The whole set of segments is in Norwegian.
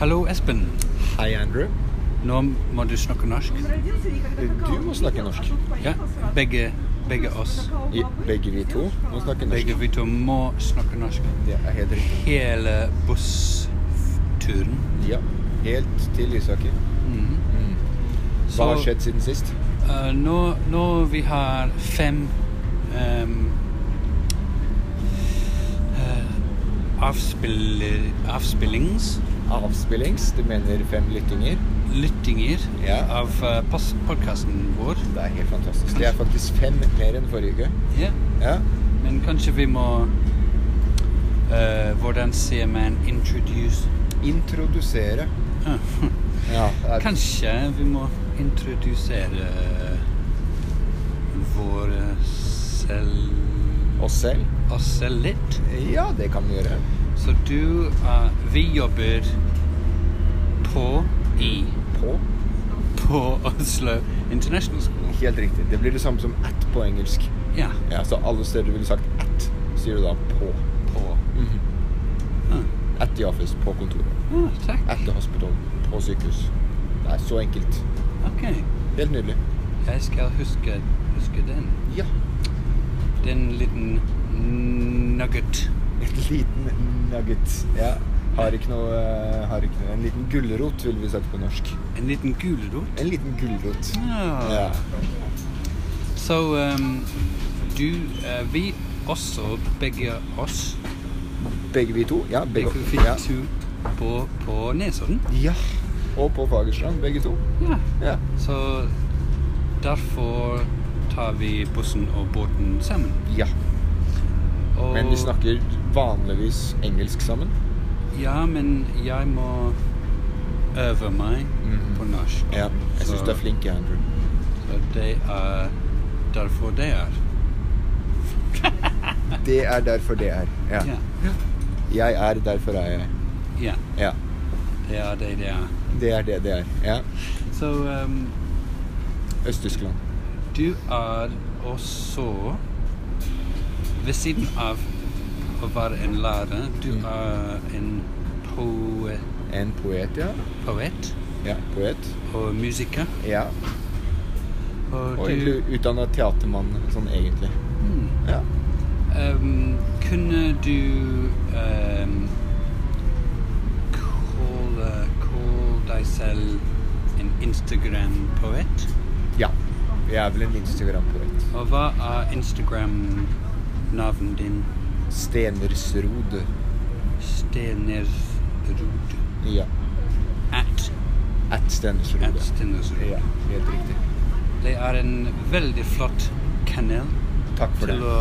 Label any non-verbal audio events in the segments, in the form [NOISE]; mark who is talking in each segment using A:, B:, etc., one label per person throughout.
A: Hallo, Espen.
B: Hei, Andrew.
A: Nå må du snakke norsk.
B: Du må snakke norsk.
A: Ja, begge, begge oss.
B: I- Begge vi to må snakke norsk.
A: Begge vi to må snakke norsk.
B: Det er helt riktig.
A: Hele bussturen.
B: Ja. Helt til Lysaker.
A: Mhm.
B: Hva har
A: Så,
B: skjedd siden sist?
A: eh, nå, nå vi har fem ehm, eh, avspill- avspillings,
B: Avspillings. Du mener fem lyttinger?
A: lyttinger
B: Ja.
A: av eh, pos- podcasten vår.
B: Det er helt fantastisk. Det er faktisk fem mer enn forrige uke.
A: Ja.
B: Ja.
A: Men kanskje vi må eh, Hvordan sier man 'introduce'?
B: Introdusere.
A: Ah,
B: [LAUGHS] Ja. det er-
A: Kanskje vi må introdusere våre selv
B: Oss selv?
A: oss selv litt.
B: Ja, det kan vi gjøre.
A: Så du er Vi jobber på i
B: På.
A: på Oslo International School.
B: Helt riktig. Det blir det samme som at på engelsk.
A: Ja,
B: Ja, Så alle steder du ville sagt at, sier du da på.
A: på. Ah,
B: At the office, på kontoret.
A: ah, takk.
B: At the hospital, på sykehus. Det er så enkelt.
A: OK.
B: Helt nydelig.
A: Jeg skal huske, huske den.
B: Ja.
A: Den liten nugget.
B: Et liten nugget. Ja. Har ikke noe, eh, har ikke noe. En liten gulrot, ville vi sagt på norsk.
A: En liten gulrot.
B: En liten gulrot.
A: Ah.
B: Ja.
A: Så ehm, du eh, Vi også, begge oss,
B: Begge vi to. Ja, begge
A: begge vi
B: ja.
A: to, på, på Nesodden.
B: ja. Og på Fagerstrand, begge to.
A: Ja.
B: Ja.
A: Så derfor tar vi bussen og båten sammen.
B: ja.
A: Og,
B: Men vi snakker vanligvis engelsk sammen.
A: Ja, men jeg må øve meg
B: Mhm.
A: på norsk.
B: Ja. Jeg syns
A: Så-
B: du er flink, jeg, Andrew.
A: Så det er derfor det er.
B: Det er derfor det er. Ja.
A: Ja.
B: Jeg er derfor er jeg.
A: ja.
B: Ja.
A: Det er det det er.
B: Det er det det er. Ja.
A: Så ehm,
B: Øst-Tyskland.
A: Du er også Ved siden av å være en lærer, du
B: Mm.
A: er en poe-
B: En poet, ja.
A: poet
B: Ja, poet.
A: og musiker.
B: Ja.
A: Og
B: Og
A: du
B: egentlig utdanna teatermann, sånn egentlig.
A: Hmm.
B: Ja.
A: Ehm, Kunne du um, uh, kalle kalle deg selv en Instagram-poet?
B: ja. Jeg er vel en Instagram-poet.
A: Og hva er Instagram-navnet din?
B: Stenersrod.
A: Stener Ruud.
B: Ja.
A: At
B: At Stenersrod.
A: At Stenersrud.
B: Ja, helt riktig.
A: Det er en veldig flott kanal
B: Takk for
A: til
B: det.
A: å,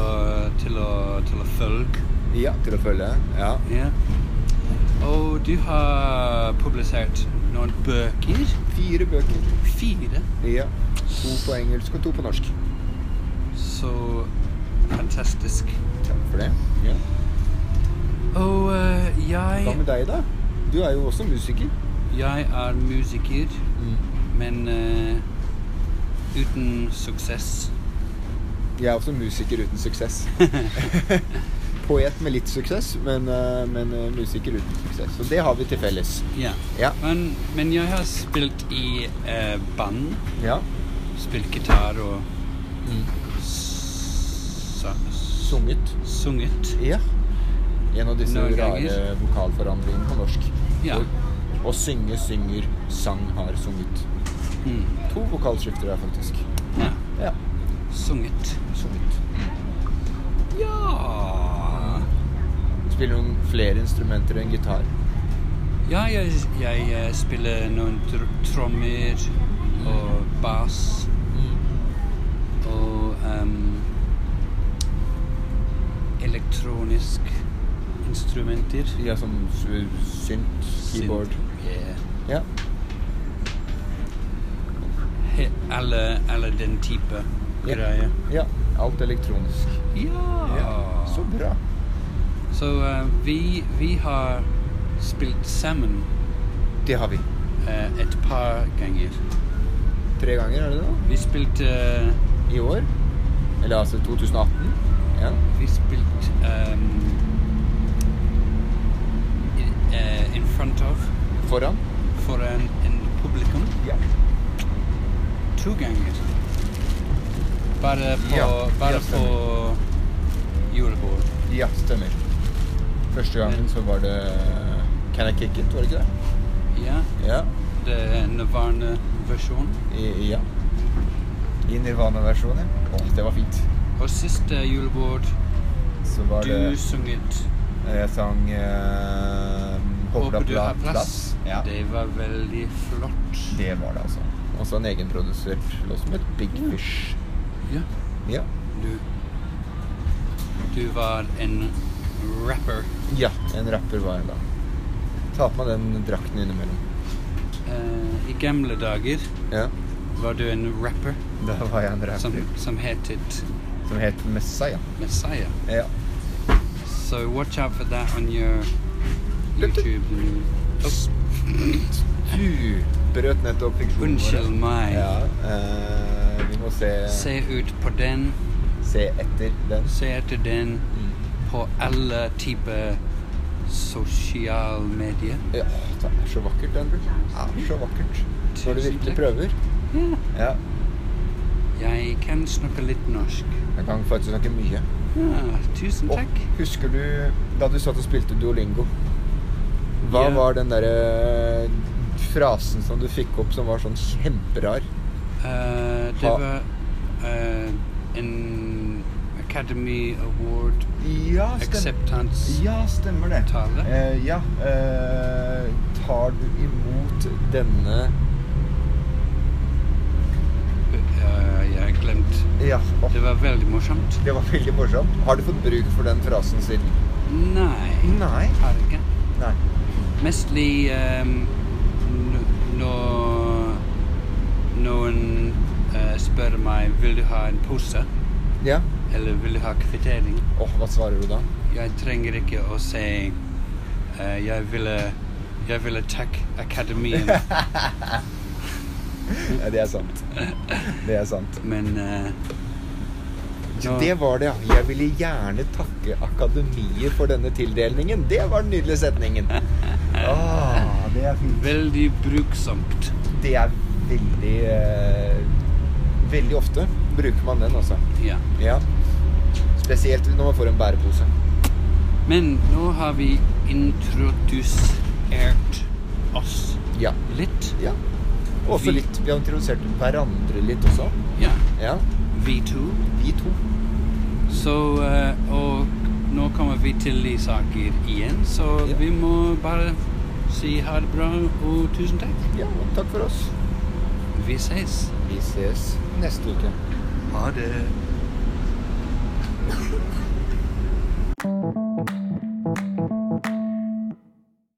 A: til, å, til å følge.
B: Ja, til å følge. Ja.
A: Ja. Og du har publisert noen bøker.
B: Fire bøker.
A: Fire.
B: Ja. To på engelsk og to på norsk.
A: Så fantastisk.
B: Takk for det. Ja.
A: Og eh,
B: Hva med
A: jeg
B: deg, da? Du er jo også musiker.
A: Jeg er musiker, Mm. men eh, uten suksess.
B: Jeg er også musiker uten
A: [LAUGHS]
B: suksess. Poet med litt suksess, men, eh, men eh, musiker uten suksess. Og det har vi til felles.
A: Ja.
B: Ja.
A: Men, men jeg har spilt i eh, band.
B: ja.
A: Spilt gitar og Mm. sa,
B: Sunget.
A: sunget.
B: Ja. En av disse
A: Noen
B: rare
A: ganger.
B: vokalforandringene på norsk.
A: Ja.
B: Hvor Å synge synger, sang har sunget.
A: Mm.
B: To vokalskifter her, faktisk.
A: ja.
B: Ja.
A: Sunget.
B: Sunget.
A: Ja
B: Spiller noen flere instrumenter enn gitar.
A: Ja, jeg, jeg eh, spiller noen tr trommer og bass
B: Mm.
A: og em, elektronisk instrumenter.
B: Ja, som s- synt, keyboard.
A: Synth. Yeah.
B: Ja.
A: He, alle, alle den type
B: Ja.
A: greier.
B: ja. Alt elektronisk.
A: Ja!
B: Så bra.
A: Så eh, vi, vi har spilt sammen
B: Det har vi.
A: eh, et par ganger.
B: Tre ganger, er det det?
A: Vi spilte eh,
B: I år. Eller altså 2018. Ja.
A: Vi spilte um, in, eh, in eh, front of
B: foran.
A: foran en publikum
B: Ja.
A: to ganger. Bare på,
B: Ja,
A: bare
B: ja,
A: på julebord.
B: ja, stemmer. Første gangen så var det Can I kick it, var det ikke det?
A: Ja,
B: Ja.
A: det er Nirvana-versjon.
B: I, ja. I Nirvana-versjonen. Å, det var fint.
A: Og siste julebord
B: Så var
A: du
B: det
A: sunget
B: Jeg sang eh, 'Håper du har plass'. Ja.
A: Det var veldig flott.
B: Det var det, altså. Også en egenprodusert låt som het Big Fish.
A: Ja.
B: Ja.
A: Du Du var en rapper.
B: ja. En rapper var jeg da. Ta på meg den drakten innimellom.
A: Eh, I gamle dager
B: Ja.
A: var du en rapper
B: Da var jeg en rapper
A: som,
B: som,
A: som hetet
B: het Messiah.
A: Messiah.
B: Ja.
A: So watch out for that on your YouTube. Oh,
B: Du brøt nettopp fiksjonen
A: Unnskyld meg.
B: Ja, eh, vi må se
A: Se ut på den.
B: se etter den. Mm.
A: Se etter den på alle typer sosiale medier.
B: Ja, det er så vakkert, den. Det er så vakkert. Når du
A: Tusen
B: virkelig
A: takk.
B: prøver.
A: Ja.
B: Ja.
A: Jeg kan snakke litt norsk.
B: Jeg kan faktisk snakke mye.
A: Ja, tusen
B: Og
A: takk.
B: husker du da du satt og spilte Duolingo?
A: Ja.
B: Hva var den derre frasen som du fikk opp som var sånn kjemperar?
A: Eh, det
B: Ha-
A: var eh, en Academy Award
B: Ja,
A: acceptance-tale.
B: Ja, stemmer det. Eh, ja. eh, tar du imot denne
A: Eh, jeg har glemt.
B: Ja. å,
A: Det var veldig morsomt.
B: Det var veldig morsomt. Har du fått bruk for den frasen siden?
A: Nei,
B: Nei.
A: har ikke.
B: Nei.
A: Mestlig um, når noen eh, spør meg vil du ha en pose
B: Ja.
A: eller vil du ha kvittering.
B: Åh, hva svarer du da?
A: Jeg trenger ikke å si eh, jeg ville jeg ville takke akademien,
B: Ja, det er sant. Det er sant.
A: men eh,
B: Så
A: nå-
B: det var det, ja. Jeg ville gjerne takke Akademiet for denne tildelingen. Det var den nydelige setningen. Ah, det er fint.
A: Veldig bruksomt.
B: Det er veldig eh, Veldig ofte bruker man den, altså.
A: Ja.
B: Ja. Spesielt når man får en bærepose.
A: Men nå har vi introdusert oss
B: Ja.
A: litt.
B: ja. Og også
A: Vi-
B: litt Vi har introdusert hverandre litt også.
A: Ja.
B: Ja.
A: Vi to.
B: Vi to.
A: Så eh, Og nå kommer vi til de saker igjen, så
B: Ja.
A: vi må bare si ha det bra og tusen takk.
B: Ja, og takk for oss.
A: Vi ses.
B: Vi ses neste uke.
A: Ha det.